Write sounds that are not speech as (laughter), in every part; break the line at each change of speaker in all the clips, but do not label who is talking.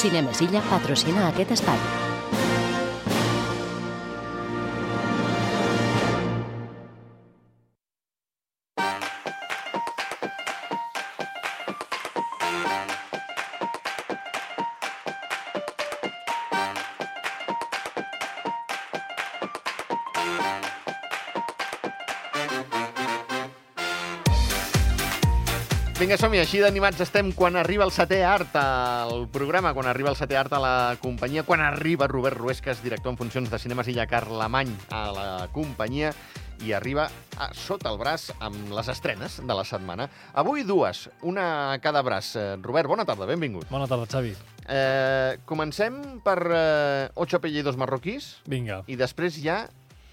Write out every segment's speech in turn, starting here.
Cinemesilla patrocina aquest espai.
Vinga, som-hi, així d'animats estem quan arriba el setè art al programa, quan arriba el setè art a la companyia, quan arriba Robert Ruesques, director en funcions de Cinemes Illa Carlemany a la companyia, i arriba a sota el braç amb les estrenes de la setmana. Avui dues, una a cada braç. Eh, Robert, bona tarda, benvingut.
Bona tarda, Xavi.
Eh, comencem per eh, Ocho apellidos marroquís
Vinga,
i després ja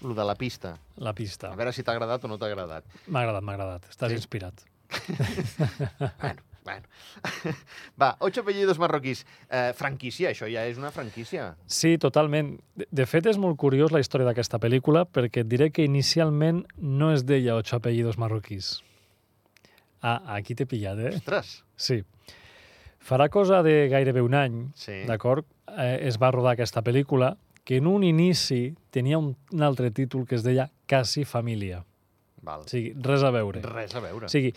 lo de la pista.
la pista.
A veure si t'ha agradat o no t'ha agradat.
M'ha agradat, m'ha agradat. Estàs
Sí?
inspirat.
Bueno, bueno. (laughs) Va, ocho apellidos marroquís. Eh, franquícia, això ja és una franquícia.
Sí, totalment. De, de fet, és molt curiós la història d'aquesta pel·lícula perquè et diré que inicialment no es deia Ocho apellidos marroquís. Ah, aquí t'he pillat, eh?
Ostres,
Sí. Farà cosa de gairebé un any,
sí.
d'acord? Eh, es va rodar aquesta pel·lícula que en un inici tenia un, un altre títol que es deia Quasi família.
Val.
O sigui, res a veure.
Res a veure.
O sigui,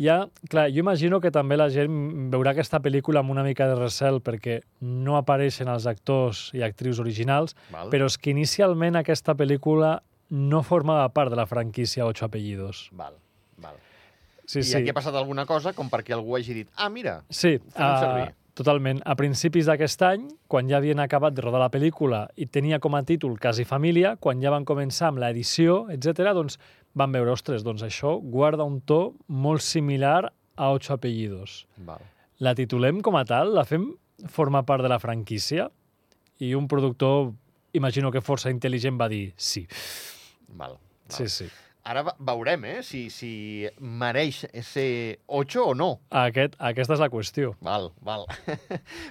ja, clar, jo imagino que també la gent veurà aquesta pel·lícula amb una mica de recel perquè no apareixen els actors i actrius originals,
Val.
però és que inicialment aquesta pel·lícula no formava part de la franquícia Ocho Apellidos.
Val, val.
Sí,
I
sí.
aquí ha passat alguna cosa com perquè algú hagi dit ah, mira,
Sí, ah,
farem servir.
totalment. A principis d'aquest any, quan ja havien acabat de rodar la pel·lícula i tenia com a títol Quasi Família, quan ja van començar amb l'edició, etc., doncs van veure, ostres, doncs això guarda un to molt similar a Ocho Apellidos.
val.
la titulem com a tal, la fem forma part de la franquícia i un productor, imagino que força intel·ligent, va dir sí.
Val. val.
Sí, sí.
Ara ve- veurem, eh, si, si mereix ser 8 o no.
Aquest, aquesta és la qüestió.
Val, val. (laughs)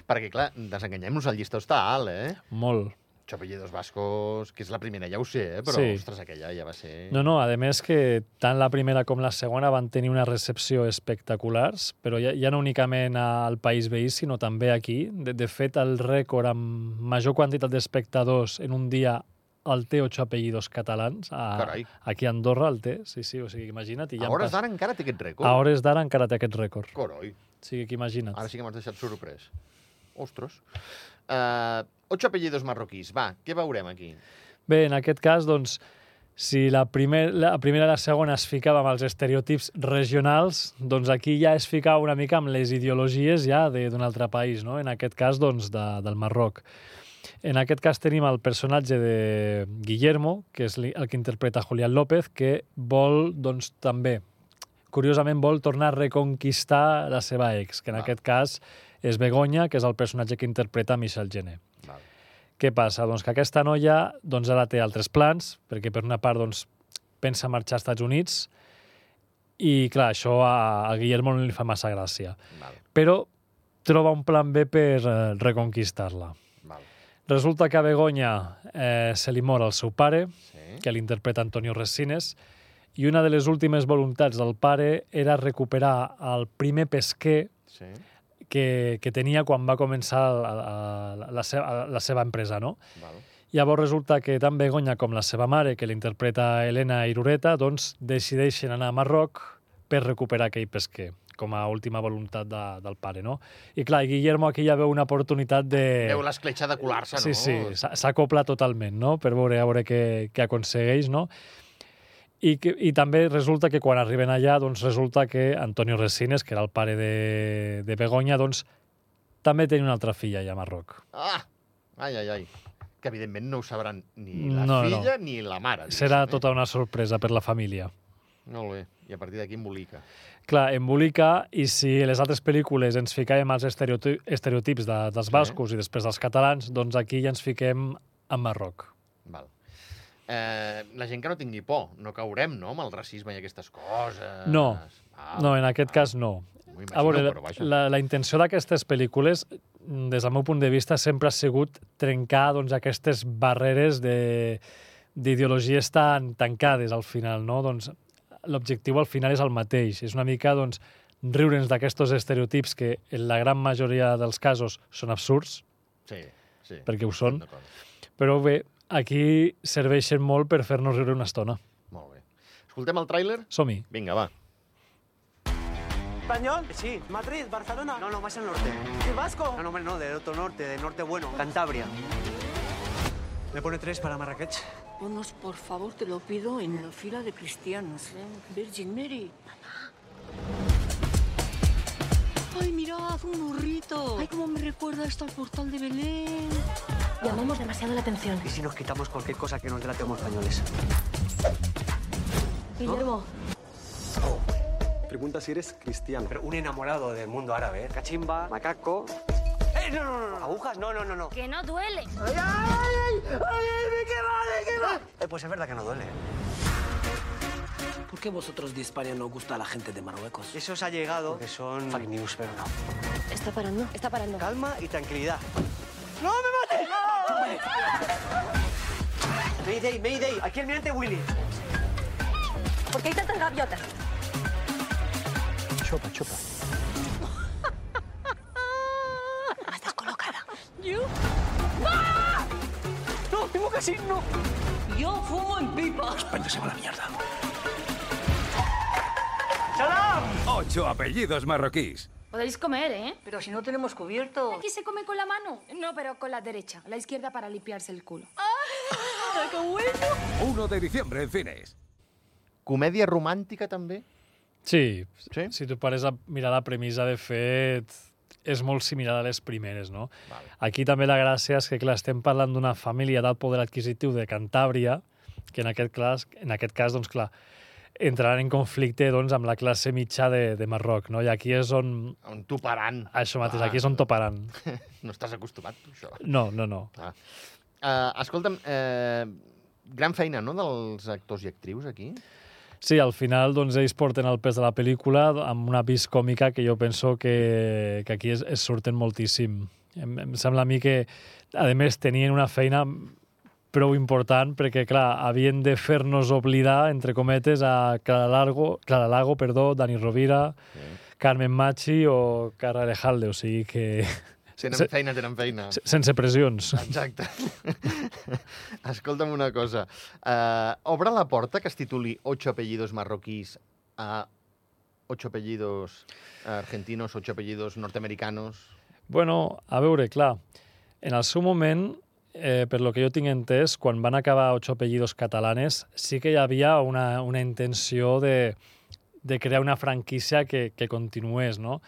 Perquè, clar, desenganyem-nos, el llistó està alt, eh?
Molt.
Chapelledos Vascos, que és la primera, ja ho sé, eh? Però,
Sí.
ostres, aquella ja va ser...
No, no, a més que tant la primera com la segona van tenir una recepció espectaculars, però ja, ja no únicament al país veí, sinó també aquí. De, de fet, el rècord amb major quantitat d'espectadors en un dia el té 8 apellidos catalans. A,
Carai.
aquí a Andorra el té, sí, sí, o sigui, imagina't.
A
I ja han
hores
pas-
d'ara encara té aquest rècord.
A hores d'ara encara té aquest rècord.
Coroi.
O sigui que imagina't.
Ara sí que m'has deixat sorprès. Ostres. Uh, ocho apellidos marroquís. Va, què veurem aquí?
Bé, en aquest cas, doncs, si la, primer, la primera i la segona es ficava amb els estereotips regionals, doncs aquí ja es ficava una mica amb les ideologies ja de- d'un altre país, no? En aquest cas, doncs, de, del Marroc. En aquest cas tenim el personatge de Guillermo, que és li- el que interpreta Julián López, que vol, doncs, també, curiosament, vol tornar a reconquistar la seva ex, que en
Val.
aquest cas és Begoña, que és el personatge que interpreta Michel Jenner.
Val.
Què passa? Doncs que aquesta noia doncs, ara té altres plans, perquè per una part doncs, pensa marxar als Estats Units i, clar, això a, a Guillermo no li fa massa gràcia.
Val,
Però troba un plan B per eh, reconquistar-la.
val.
Resulta que a Begoña eh, se li mor el seu pare,
Sí.
que l'interpreta Antonio Resines, i una de les últimes voluntats del pare era recuperar el primer pesquer
Sí.
que, que tenia quan va començar la, la, la, seva, la seva empresa, no?
Val.
Llavors resulta que tant Begoña com la seva mare, que l'interpreta Elena Irureta, doncs decideixen anar a Marroc per recuperar aquell pesquer, com a última voluntat de, del pare, no? I clar, Guillermo aquí ja veu una oportunitat de...
Veu l'escletxa de colar-se,
Eh. Sí,
no?
sí, s'ha- s'acopla totalment, no? Per veure, a veure què, què aconsegueix, no? I, que, I també resulta que quan arriben allà, doncs resulta que Antonio Resines, que era el pare de, de Begoña, doncs també tenia una altra filla allà a Marroc.
Ah! Ai, ai, ai. Que evidentment no ho sabran ni la
No, no.
filla ni la mare.
Serà
diguéssim,
tota una sorpresa per la família.
Eh? Molt bé. I a partir d'aquí embolica.
Clar, embolica, i si les altres pel·lícules ens ficàvem als estereoti estereotips de, dels
Sí.
bascos i després dels catalans, doncs aquí ja ens fiquem a Marroc.
Val. Eh, la gent que no tingui por, no caurem, no?, amb el racisme i aquestes coses.
No.
Val.
no, en aquest cas no.
M'ho
A
Ah. imagino,
veure,
però
la,
vaja.
la, la intenció d'aquestes pel·lícules, mm, des del meu punt de vista, sempre ha sigut trencar doncs, aquestes barreres de- d'ideologies tan tancades al final, no? Doncs l'objectiu al final és el mateix, és una mica doncs, riure'ns d'aquests estereotips que en la gran majoria dels casos són absurds,
Sí, sí.
perquè ho són,
D'acord.
però bé, aquí serveixen molt per fer-nos riure una estona.
Molt bé. Escoltem el tràiler?
Som-hi.
Vinga, va.
¿Español? Sí. ¿Madrid? ¿Barcelona?
No, no, más al norte.
¿Y vasco?
No, no, hombre, no, del otro norte, del norte bueno, Cantabria.
Me pone tres para Marrakech.
Ponos, por favor, te lo pido, en la fila de cristianos. Virgin Mary. ¡Ay, mirad, un burrito! ¡Ay, cómo me recuerda esto al portal de Belén!
Llamamos demasiado la atención.
¿Y si nos quitamos cualquier cosa que nos delate como españoles?
Guillermo,
Oh.
Pregunta si eres cristiano.
Pero un enamorado del mundo árabe, ¿eh? Cachimba, macaco. ¡Eh, no, no, no, no! ¿Agujas? No, no, no, no.
que no duele.
¡Ay, ay! ¡Ay, ay! qué va, qué va! Eh, pues es verdad que no duele.
¿Por qué vosotros de España no os gusta a la gente de Marruecos?
Eso os ha llegado, que son fake news, pero no.
Está parando, está parando.
Calma y tranquilidad. ¡No me mates! Mayday, Mayday, aquí el mirante Willy.
¿Por qué hay tantas gaviotas?
Chupa,
(laughs)
chupa.
Estás colocada. ¡Ah!
No, tengo que decir no.
Yo fumo en pipa.
España se va a la mierda.
Ocho apellidos marroquíes.
Podéis comer, ¿eh?
Pero si no tenemos cubierto.
Aquí se come con la mano. No, pero con la derecha. La izquierda para limpiarse el culo.
1 de diciembre en cines.
Comèdia romàntica, també?
Sí,
Sí?
si tu pares a mirar la premissa, de fet, és molt similar a les primeres, no?
Vale.
Aquí també la gràcia és que, clar, estem parlant d'una família d'alt poder adquisitiu de Cantàbria, que en aquest, cas, en aquest cas, doncs clar, entraran en conflicte doncs, amb la classe mitja de, de Marroc, no? I aquí és on...
On tu parant.
Això mateix,
Ah.
aquí és on toparan.
No estàs acostumat, tu, això.
No, no, no.
Ah. Uh, escolta'm, uh, gran feina, no?, dels actors i actrius, aquí.
Sí, al final doncs, ells porten el pes de la pel·lícula amb una vis còmica que jo penso que, que aquí es, es surten moltíssim. Em, em sembla a mi que, a més, tenien una feina prou important perquè, clar, havien de fer-nos oblidar, entre cometes, a Clara, Largo, Clara Lago, perdó, Dani Rovira, Carmen Machi o Cara Alejalde, o sigui que...
Tenen
Se-
feina, tenen feina.
se- Sense pressions.
Exacte. (laughs) Escolta'm una cosa. Uh, obre la porta que es tituli Ocho apellidos marroquís a ocho apellidos argentinos, ocho apellidos norteamericanos...
Bueno, a veure, clar, en el seu moment, eh, per lo que jo tinc entès, quan van acabar Ocho Apellidos Catalanes, sí que hi havia una, una intenció de, de crear una franquícia que, que continués, no?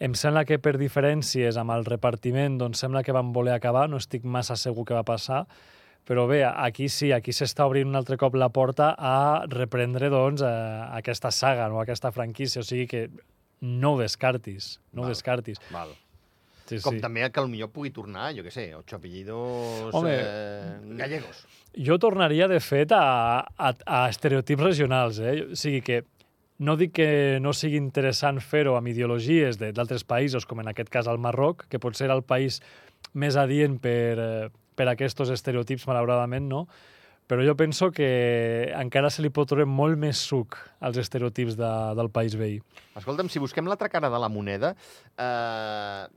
Em sembla que per diferències amb el repartiment, doncs sembla que van voler acabar, no estic massa segur què va passar, però bé, aquí sí, aquí s'està obrint un altre cop la porta a reprendre doncs, eh, aquesta saga, no? aquesta franquícia, o sigui que no ho descartis, no
Val.
ho descartis.
Val.
Sí,
Com
sí.
també que potser pugui tornar, jo què sé, ocho apellidos
Home.
eh, gallegos.
Jo tornaria, de fet, a, a, a estereotips regionals. Eh? O sigui que no dic que no sigui interessant fer-ho amb ideologies de- d'altres països, com en aquest cas el Marroc, que potser era el país més adient per, eh, per a aquests estereotips, malauradament, no? Però jo penso que encara se li pot trobar molt més suc als estereotips de, del país veí.
Escolta'm, si busquem l'altra cara de la moneda, eh,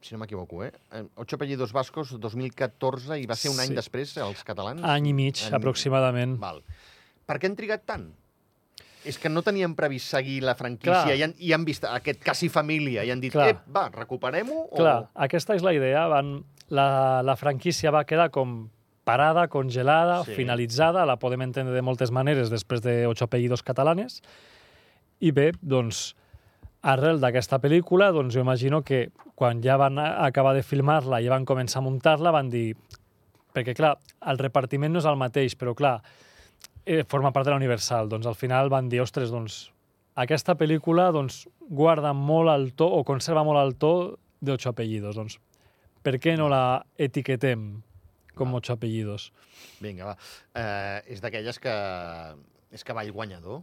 si no m'equivoco, eh? eh, Ocho apellidos vascos, 2014, i va ser un
Sí.
any després, eh, els catalans?
Mm. Any i mig,
Any-
aproximadament.
Val. Per què han trigat tant? És que no tenien previst seguir la franquícia
Clar.
i han, i han vist aquest quasi família i han dit,
Clar.
ep, va, recuperem-ho?
Clar, aquesta és la idea. Van, la, la franquícia va quedar com parada, congelada,
Sí.
sí. finalitzada, la podem entendre de moltes maneres després de Ocho apellidos catalanes. I bé, doncs, arrel d'aquesta pel·lícula, doncs jo imagino que quan ja van a- acabar de filmar-la i van començar a muntar-la, van dir... Perquè, clar, el repartiment no és el mateix, però, clar, eh, forma part de la Universal. Doncs al final van dir, ostres, doncs aquesta pel·lícula doncs, guarda molt el to o conserva molt el to d'Ocho Apellidos. Doncs, per què no la etiquetem com Ocho Apellidos?
O... Vinga, va. Eh, és d'aquelles que... És que va el guanyador.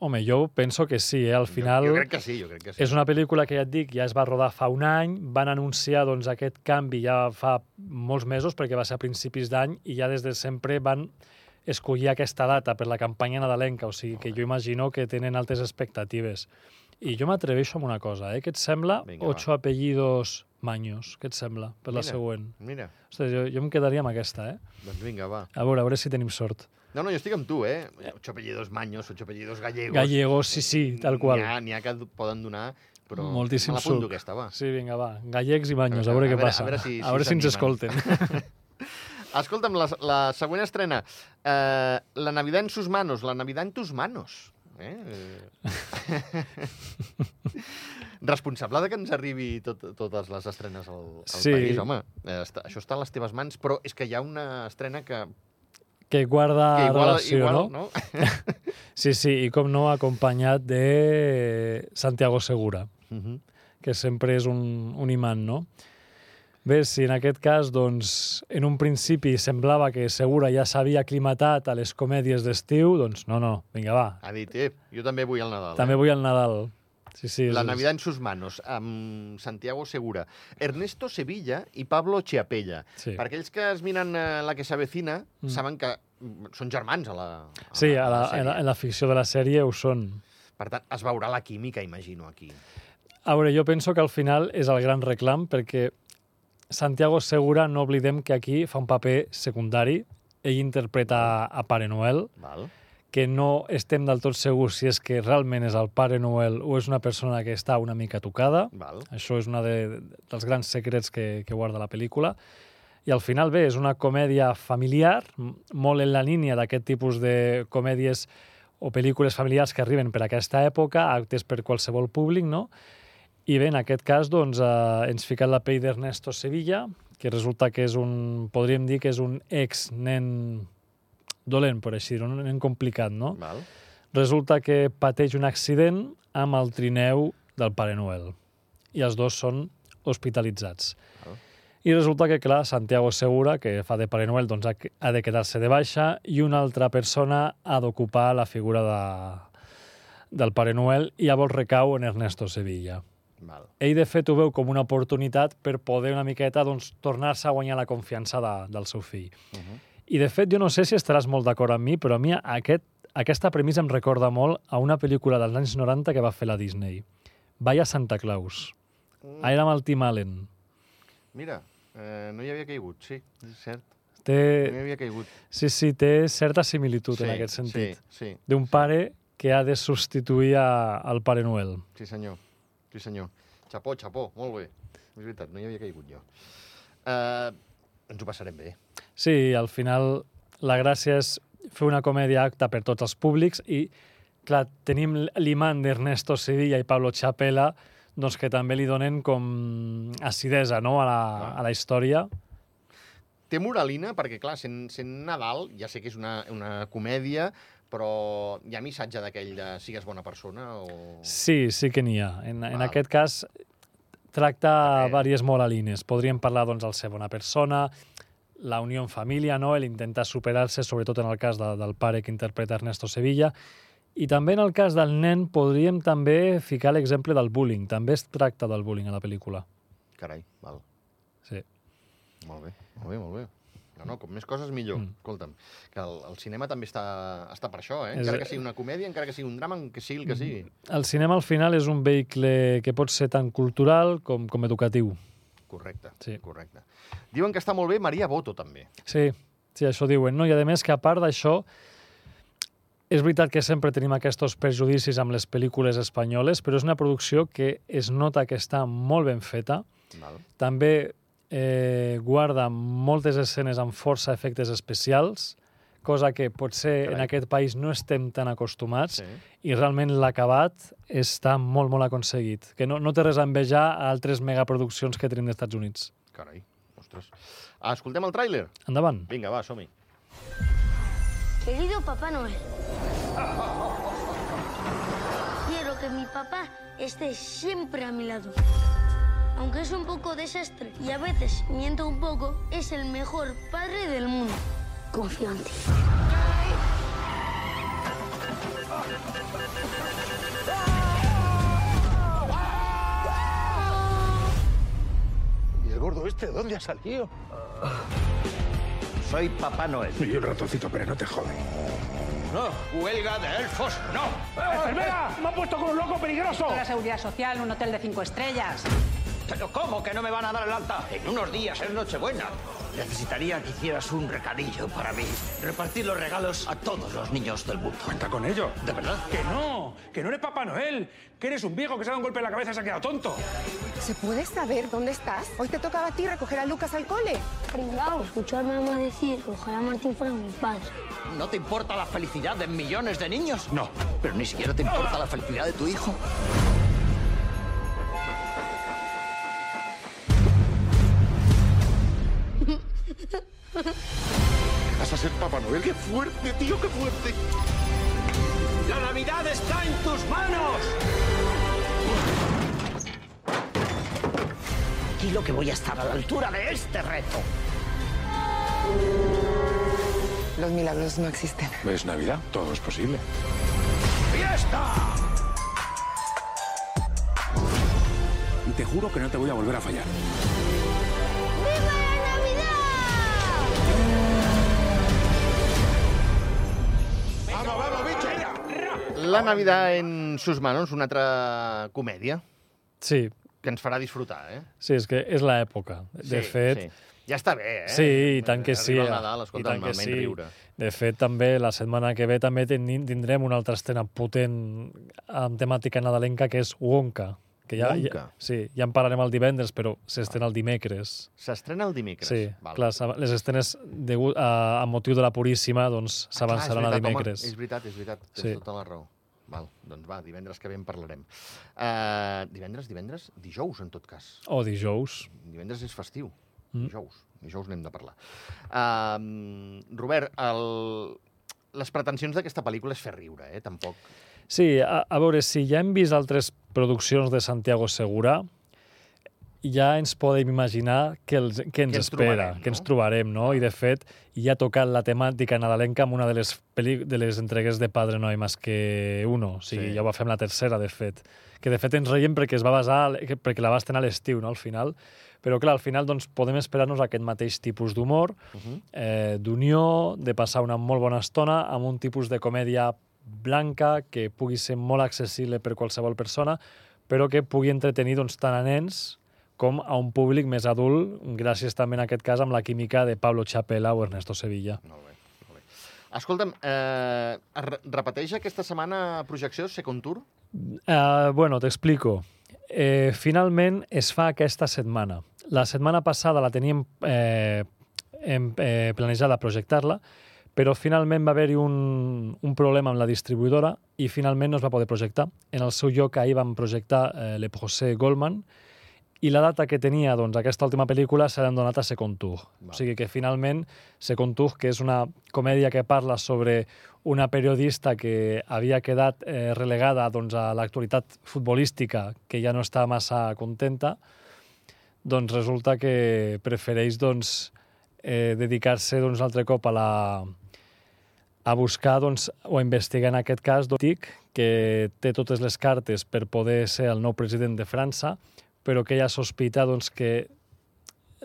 Home, jo penso que sí, eh? al final...
Jo, jo crec que sí, jo crec que sí.
És una pel·lícula que ja et dic, ja es va rodar fa un any, van anunciar doncs, aquest canvi ja fa molts mesos, perquè va ser a principis d'any, i ja des de sempre van escollir aquesta data per la campanya nadalenca, o sigui que jo imagino que tenen altes expectatives. I jo m'atreveixo amb una cosa, eh? Què et sembla?
Vinga,
Vinga, Ocho apellidos maños. Què et sembla? Per la
Mira.
següent.
Mira,
Ostres, jo, jo em quedaria amb aquesta, eh?
doncs vinga, va.
A veure, a veure si tenim sort.
No, no, jo estic amb tu, eh? Ocho apellidos maños, ocho apellidos gallegos.
Gallegos,
eh,
sí, sí, tal qual.
N'hi ha, n'hi ha que poden donar, però...
Moltíssim
me
suc.
l'apunto aquesta, va.
Sí, vinga, va. Gallecs i banyos, a veure, què passa.
A veure si,
a veure si ens
s'animen. (laughs)
escolten.
Escolta'm, la, la següent estrena. Eh, la Navidad en sus manos, la Navidad en tus manos.
(laughs)
Eh? Eh. Responsable de que ens arribi tot, totes les estrenes al, al
Sí.
país, home. Eh, està, això està a les teves mans, però és que hi ha una estrena que,
que guarda
que igual,
Ah, relació,
igual
no? Sí, sí, i com no, acompanyat de Santiago Segura,
(laughs) Mhm.
que sempre és un, un imant, no? Bé, si en aquest cas, doncs, en un principi semblava que Segura ja s'havia aclimatat a les comèdies d'estiu, doncs no, no, vinga, va.
Ha dit, eh, jo també vull el Nadal.
També vull el Nadal. Sí, sí,
La
és-
Navidad en sus manos, amb Santiago Segura, Ernesto Sevilla i Pablo Chiapella.
Sí.
Per aquells que es miren eh, la que s'avecina, mm. saben que mm, són germans a Ah, la, a
Sí, a la,
sèrie.
en, la, en la ficció de la sèrie ho són.
Per tant, es veurà la química, imagino, aquí.
A veure, jo penso que al final és el gran reclam perquè Santiago Segura, no oblidem que aquí fa un paper secundari, ell interpreta a Pare Noel,
Val?
que no estem del tot segurs si és que realment és el Pare Noel o és una persona que està una mica tocada.
Val.
Això és un de, dels grans secrets que, que guarda la pel·lícula. I al final, bé, és una comèdia familiar, m- molt en la línia d'aquest tipus de comèdies o pel·lícules familiars que arriben per aquesta època, actes per qualsevol públic, no? I bé, en aquest cas, doncs, eh, ens ficat la pell d'Ernesto Sevilla, que resulta que és un, podríem dir que és un ex-nen dolent, per així dir-ho, un nen complicat, no?
Val.
Resulta que pateix un accident amb el trineu del Pare Noel i els dos són hospitalitzats.
Val.
I resulta que, clar, Santiago Segura, que fa de Pare Noel, doncs ha ha de quedar-se de baixa i una altra persona ha d'ocupar la figura de, del Pare Noel i llavors recau en Ernesto Sevilla.
Val.
Ell, de fet, ho veu com una oportunitat per poder una miqueta doncs, tornar-se a guanyar la confiança de, del seu fill.
Mhm.
I de fet, jo no sé si estaràs molt d'acord amb mi, però a mi aquest, aquesta premissa em recorda molt a una pel·lícula dels anys 90 que va fer la Disney. Vaya Santa Claus.
Mm.
Ah, era amb el Tim Allen.
Mira, eh, no hi havia caigut, sí, és cert. No hi
Té,
havia caigut.
sí, sí, té certa similitud
Mm. sí,
Eh, en aquest sentit.
Sí, sí,
D'un pare que ha de substituir a, al Pare Noel.
Sí, senyor. Sí, senyor. Chapó, chapó, molt bé. És veritat, no hi havia caigut jo. Uh, ens ho passarem bé.
Sí, al final la gràcia és fer una comèdia acta per tots els públics i, clar, tenim l'imant d'Ernesto Sevilla i Pablo Chapela doncs que també li donen com acidesa no? a, la, a la història.
Té moralina, perquè, clar, sent, sent Nadal, ja sé que és una, una comèdia, però hi ha missatge d'aquell de sigues bona persona o...
Sí, sí que n'hi ha. En, en
Val.
aquest cas tracta
Bé.
diverses moralines. Podríem parlar doncs, del ser bona persona, la unió en família, no? l'intentar superar-se, sobretot en el cas de, del pare que interpreta Ernesto Sevilla, i també en el cas del nen podríem també ficar l'exemple del bullying. També es tracta del bullying a la pel·lícula.
Carai, val.
Sí.
Molt bé, molt bé, molt bé. No, no, com més coses, millor. Mm. Escolta'm, que el, el cinema també està, està per això, eh?
És-
Encara que sigui una comèdia, encara que sigui un drama, en que sigui el que sigui.
El cinema al final és un vehicle que pot ser tan cultural com, com educatiu.
Correcte,
Sí.
correcte. Diuen que està molt bé Maria Boto, també.
Sí, sí, això diuen, no? I a més que a part d'això, és veritat que sempre tenim aquests prejudicis amb les pel·lícules espanyoles, però és una producció que es nota que està molt ben feta.
Val.
També eh, guarda moltes escenes amb força efectes especials, cosa que potser
Carai.
en aquest país no estem tan acostumats,
Sí.
i realment l'acabat està molt, molt aconseguit, que no, no té res a envejar a altres megaproduccions que tenim dels Estats Units.
Carai, ostres. Ah, Escoltem el tràiler?
Endavant.
Vinga, va, som-hi.
Querido Papá Noel, quiero que mi papá esté siempre a mi lado. Aunque es un poco desastre y a veces miento un poco, es el mejor padre del mundo. Confío en ti.
¿Y el gordo este dónde ha salido?
Soy Papá Noel.
Y un ratoncito, pero no te jode.
no. Huelga de elfos, no. ¡Enfermera! ¡Me han puesto con un loco peligroso!
La seguridad social, un hotel de cinco estrellas.
¿Pero cómo que no me van a dar el alta? En unos días es Nochebuena. Necesitaría que hicieras un recadillo para mí. Repartir los regalos a todos los niños del mundo.
Cuenta con ello.
¿De verdad?
Que no, que no eres Papá Noel, que eres un viejo que se ha dado un golpe en la cabeza y se ha quedado tonto.
¿Se puede saber dónde estás? Hoy te tocaba a ti recoger a Lucas al cole.
Pringao, escuchó a mi mamá decir, ojalá Martín fuera mi padre.
¿No te importa la felicidad de millones de niños?
No.
Pero ni siquiera te importa la felicidad de tu hijo.
¿Vas a ser Papá Noel? ¡Qué fuerte, tío, qué fuerte!
¡La Navidad está en tus manos! Tranquilo que voy a estar a la altura de este reto.
Los milagros no existen.
¿Es Navidad? Todo es posible.
¡Fiesta!
Te juro que no te voy a volver a fallar.
La Navidad en sus manos, una altra comèdia
Sí,
que ens farà disfrutar, eh?
sí, és que és l'època. De
Sí,
fet,
sí. Ja està bé, eh?
Sí, i tant que sí. eh?
Arriba el Nadal, escolta,
i tant que
almenys riure.
De fet, també, la setmana que ve també tenim, tindrem una altra estrena potent amb temàtica nadalenca, que és Wonka. Que ja,
Wonka?
Ja, sí, ja en parlarem el divendres, però s'estrena el dimecres.
S'estrena el dimecres.
Sí,
Val.
clar, s'ava- les estrenes de, a, a motiu de la Puríssima doncs s'avançaran
Ah, Clar,
a
és veritat,
dimecres.
Home, és veritat, és veritat. Tens
Sí.
tota la raó. Val, doncs va, divendres que ve en parlarem. Uh, divendres, divendres, dijous, en tot cas.
O dijous.
Divendres és festiu.
Mm.
Mm. Dijous. Dijous n'hem de parlar. Uh, Robert, el... les pretensions d'aquesta pel·lícula és fer riure, eh? Tampoc.
Sí, a, a veure, si ja hem vist altres produccions de Santiago Segura, ja ens podem imaginar que, els, que ens
ens
espera,
trobarem,
que ens trobarem, no? I, de fet, ja ha tocat la temàtica nadalenca amb una de les, pel·li- de les entregues de Padre Noi Más que Uno. O sigui,
Sí.
ja ho va fer amb la tercera, de fet. Que, de fet, ens reiem perquè, es va basar, que- perquè la va estrenar a l'estiu, no?, al final. Però, clar, al final doncs, podem esperar-nos aquest mateix tipus d'humor,
Uh -huh.
eh, d'unió, de passar una molt bona estona amb un tipus de comèdia blanca que pugui ser molt accessible per qualsevol persona, però que pugui entretenir doncs, tant a nens com a un públic més adult, gràcies també en aquest cas amb la química de Pablo Chapela o Ernesto Sevilla.
Escolta'm, eh, es re- repeteix aquesta setmana projecció Second Tour?
Eh, bueno, t'explico. Eh, finalment es fa aquesta setmana. La setmana passada la teníem eh, em, eh, planejada projectar-la, però finalment va haver-hi un, un problema amb la distribuïdora i finalment no es va poder projectar. En el seu lloc ahir vam projectar eh, Le Procès Goldman i la data que tenia doncs, aquesta última pel·lícula se l'han donat a Second Tour. O sigui que finalment Second Tour, que és una comèdia que parla sobre una periodista que havia quedat eh, relegada doncs, a l'actualitat futbolística, que ja no està massa contenta, doncs resulta que prefereix doncs, eh, dedicar-se doncs, un altre cop a la a buscar doncs, o a investigar en aquest cas doncs, TIC, que té totes les cartes per poder ser el nou president de França, però que ella sospita doncs, que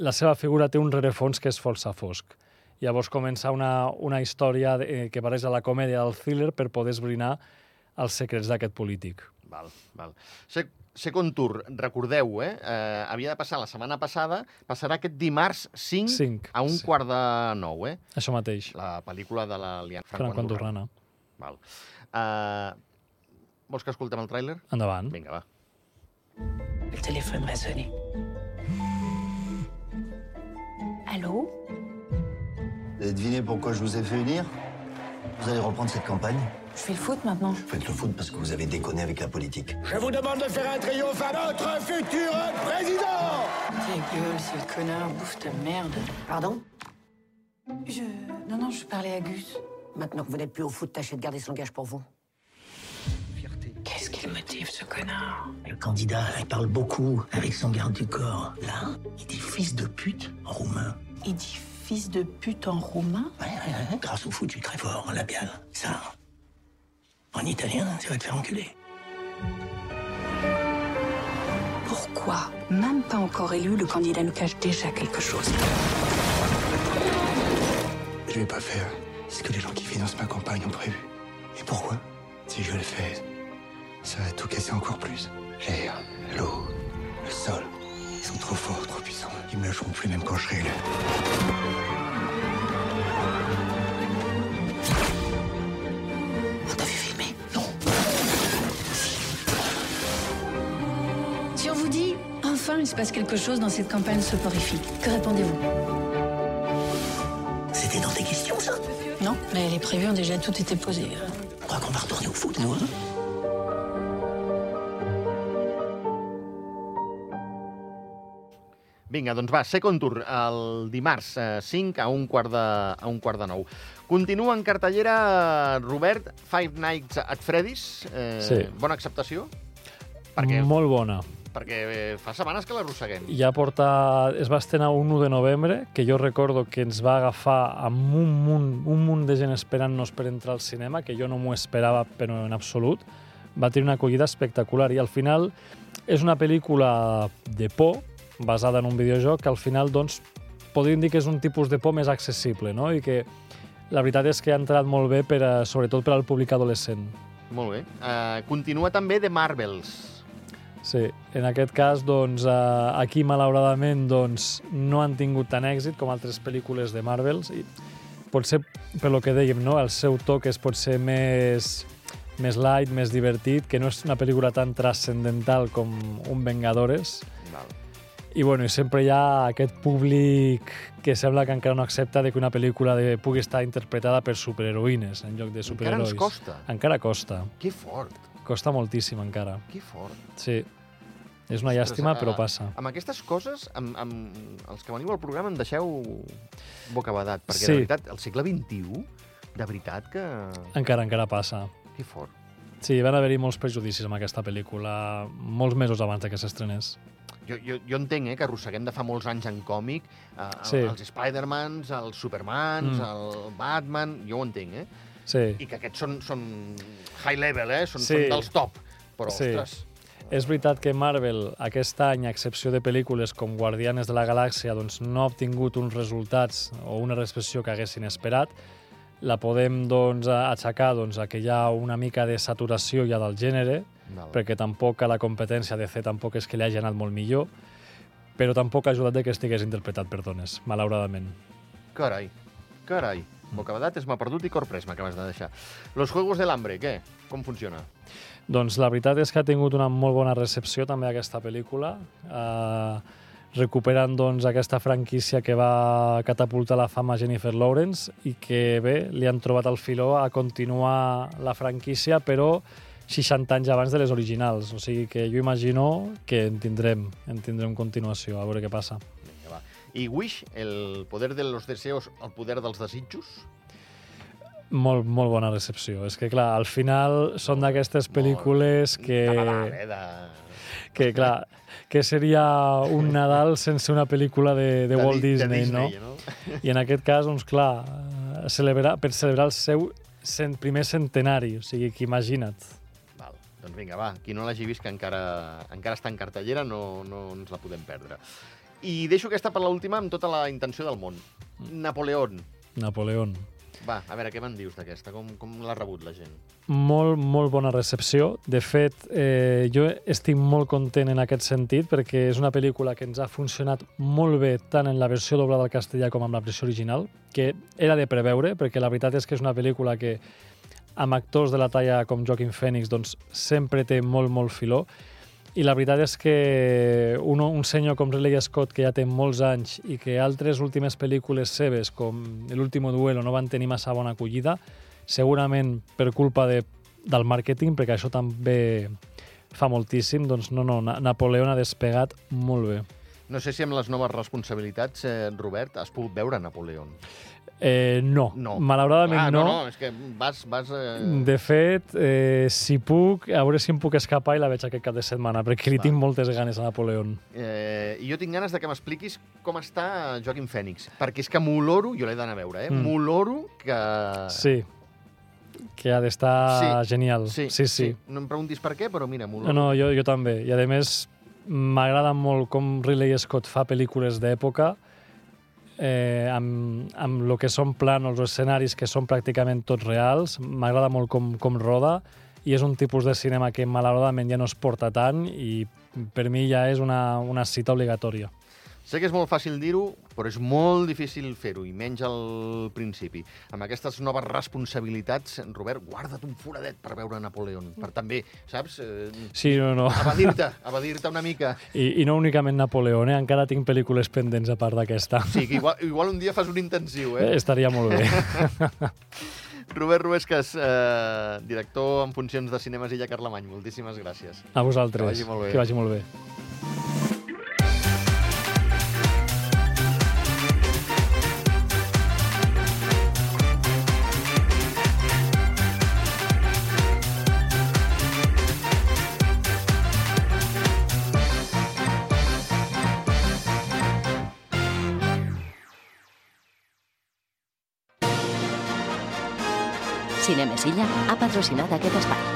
la seva figura té un rerefons que és força fosc. Llavors comença una, una història de, eh, que pareix a la comèdia del thriller per poder esbrinar els secrets d'aquest polític.
Val, val. Se- Second Tour, recordeu, eh? eh? Havia de passar la setmana passada, passarà aquest dimarts 5,
Cinc,
a un
sí.
quart de nou, eh?
Això mateix.
La pel·lícula de la Liana
Franco Andorrana.
Val. Eh, vols que escoltem el tràiler?
Endavant.
Vinga, va.
Le téléphone va sonner. Allô
Vous avez deviné pourquoi je vous ai fait unir Vous allez reprendre cette campagne
Je fais le foot maintenant.
Faites le foot parce que vous avez déconné avec la politique.
Je vous demande de faire un triomphe à notre futur président
Ta gueule, sale connard, bouffe ta merde. Pardon Je. Non, non, je parlais à Gus.
Maintenant que vous n'êtes plus au foot, tâchez de garder ce langage pour vous.
Qu'est-ce qu'il motive, ce connard
Le candidat, il parle beaucoup avec son garde du corps. Là, il dit fils de pute en roumain.
Il dit fils de pute en roumain
Ouais, ouais, ouais. Grâce au foot, je suis très fort en labial. Ça, en italien, ça va te faire enculer.
Pourquoi Même pas encore élu, le candidat nous cache déjà quelque chose.
Je vais pas faire ce que les gens qui financent ma campagne ont prévu. Et pourquoi Si je le fais, ça va tout casser encore plus. L'air, l'eau, le sol. Ils sont trop forts, trop puissants. Ils me lâcheront plus même quand je serai
On t'a vu filmer Non. Si on vous dit, enfin, il se passe quelque chose dans cette campagne soporifique, que répondez-vous
C'était dans tes questions, ça
Non, mais les prévus ont déjà tout été hein. posé.
Je crois qu'on va retourner au foot, nous, hein
Vinga, doncs va, Second Tour, el dimarts eh, 5 a un quart de, a un quart de nou. Continua en cartellera, eh, Robert, Five Nights at Freddy's. Eh,
Sí.
Bona acceptació,
Molt bona.
perquè eh, fa setmanes que l'arrosseguem.
Ja porta... Es va estrenar un 1 de novembre, que jo recordo que ens va agafar amb un munt, un munt de gent esperant-nos per entrar al cinema, que jo no m'ho esperava, però en absolut. Va tenir una acollida espectacular i al final és una pel·lícula de por, basada en un videojoc, que al final doncs, podríem dir que és un tipus de por més accessible, no? I que la veritat és que ha entrat molt bé, per, a, sobretot per al públic adolescent.
Molt bé. Eh, continua també The Marvels.
Sí, en aquest cas, doncs, eh, aquí, malauradament, doncs, no han tingut tant èxit com altres pel·lícules de Marvels. I potser, per lo que dèiem, no? el seu toc és potser més, més light, més divertit, que no és una pel·lícula tan transcendental com un Vengadores.
Val.
I, bueno, i sempre hi ha aquest públic que sembla que encara no accepta de que una pel·lícula de, pugui estar interpretada per superheroïnes en lloc de
Encara
superherois.
ens costa.
Encara costa.
Que fort,
Costa moltíssim, encara.
que fort.
Sí. És una
Ostres,
llàstima,
eh,
però passa.
Amb aquestes coses, amb, amb els que veniu al programa, em deixeu bocabadat, perquè
Sí.
de veritat, el segle XXI, de veritat que...
Encara, encara passa.
Que fort.
Sí, van haver-hi molts prejudicis amb aquesta pel·lícula molts mesos abans de que s'estrenés.
Jo, jo, jo entenc eh, que arrosseguem de fa molts anys en còmic eh, el-
Sí.
els Spider-Mans, els Supermans,
Mm.
el Batman, jo ho entenc, eh?
Sí.
I que aquests són, són high level, eh? Són,
Sí.
són dels top. Però, ostres,
És veritat que Marvel aquest any, a excepció de pel·lícules com Guardianes de la Galàxia, doncs no ha obtingut uns resultats o una recepció que haguessin esperat. La podem doncs, a- aixecar doncs, a que hi ha una mica de saturació ja del gènere,
Val.
perquè tampoc a la competència de C tampoc és que li hagi anat molt millor, però tampoc ha ajudat de que estigués interpretat per dones, malauradament.
carai, carai. Bocabadat és m'ha perdut i corpres m'acabes de deixar. Los Juegos del Hambre, què? Com funciona?
Doncs la veritat és que ha tingut una molt bona recepció també aquesta pel·lícula, eh, recuperant doncs, aquesta franquícia que va catapultar la fama a Jennifer Lawrence i que bé, li han trobat el filó a continuar la franquícia, però 60 anys abans de les originals. O sigui que jo imagino que en tindrem, en tindrem continuació, a veure què passa.
Vinga, va. I Wish, el poder de los deseos, el poder dels desitjos?
Molt, molt bona recepció. És que, clar, al final són d'aquestes pel·lícules que...
Nadal, eh, de...
Que, clar, que seria un Nadal sense una pel·lícula de, de,
Di-
Walt
de
Disney,
Disney,
no?
no?
I en aquest cas, doncs, clar, eh, celebrar, per celebrar el seu cent, primer centenari, o sigui, que imagina't.
Val. Doncs vinga, va, qui no l'hagi vist que encara, encara està en cartellera no, no ens la podem perdre. I deixo aquesta per l'última amb tota la intenció del món.
Mm.
Napoleón.
Napoleón.
Va, a veure, què me'n dius d'aquesta? Com, com l'ha rebut la gent?
molt, molt bona recepció. De fet, eh, jo estic molt content en aquest sentit perquè és una pel·lícula que ens ha funcionat molt bé tant en la versió doblada al castellà com en la versió original, que era de preveure, perquè la veritat és que és una pel·lícula que amb actors de la talla com Joaquin Phoenix doncs, sempre té molt, molt filó. I la veritat és que un, un senyor com Ridley Scott, que ja té molts anys i que altres últimes pel·lícules seves, com L'último duelo, no van tenir massa bona acollida, segurament per culpa de, del màrqueting, perquè això també fa moltíssim, doncs no, no, Na- Napoleón ha despegat molt bé.
No sé si amb les noves responsabilitats, eh, Robert, has pogut veure Napoleón.
Eh, no,
No.
malauradament
Clar,
no.
no. No, és que vas... vas eh...
De fet, eh, si puc, a veure si em puc escapar i la veig aquest cap de setmana, perquè li
Va.
tinc moltes ganes a Napoleón.
Eh, I jo tinc ganes de que m'expliquis com està Joaquim Fènix, perquè és que m'oloro, jo l'he d'anar a veure, eh?
Mm.
M'oloro que...
Sí, que ha d'estar
Sí,
genial. sí. sí.
No em preguntis per què, però mira,
No,
m'oloro.
no, jo, jo també. I a més, m'agrada molt com Ridley Scott fa pel·lícules d'època eh, amb, amb el que són plànols o escenaris que són pràcticament tots reals. M'agrada molt com, com roda i és un tipus de cinema que malauradament ja no es porta tant i per mi ja és una, una cita obligatòria.
Sé que és molt fàcil dir-ho, però és molt difícil fer-ho, i menys al principi. Amb aquestes noves responsabilitats, Robert, guarda't un foradet per veure Napoleón, per també, saps? Eh,
Sí, no, no.
Abadir-te, abadir-te una mica.
I, I no únicament Napoleón, eh? encara tinc pel·lícules pendents a part d'aquesta.
O sigui, que igual, igual un dia fas un intensiu, eh?
Eh, estaria
(laughs)
molt bé.
Robert Ruescas, eh, director en funcions de Cinemes Illa Carlemany, moltíssimes gràcies.
A
Que
vosaltres.
vagi molt bé.
Que vagi molt bé.
Cinemesilla ha patrocinat aquest espai.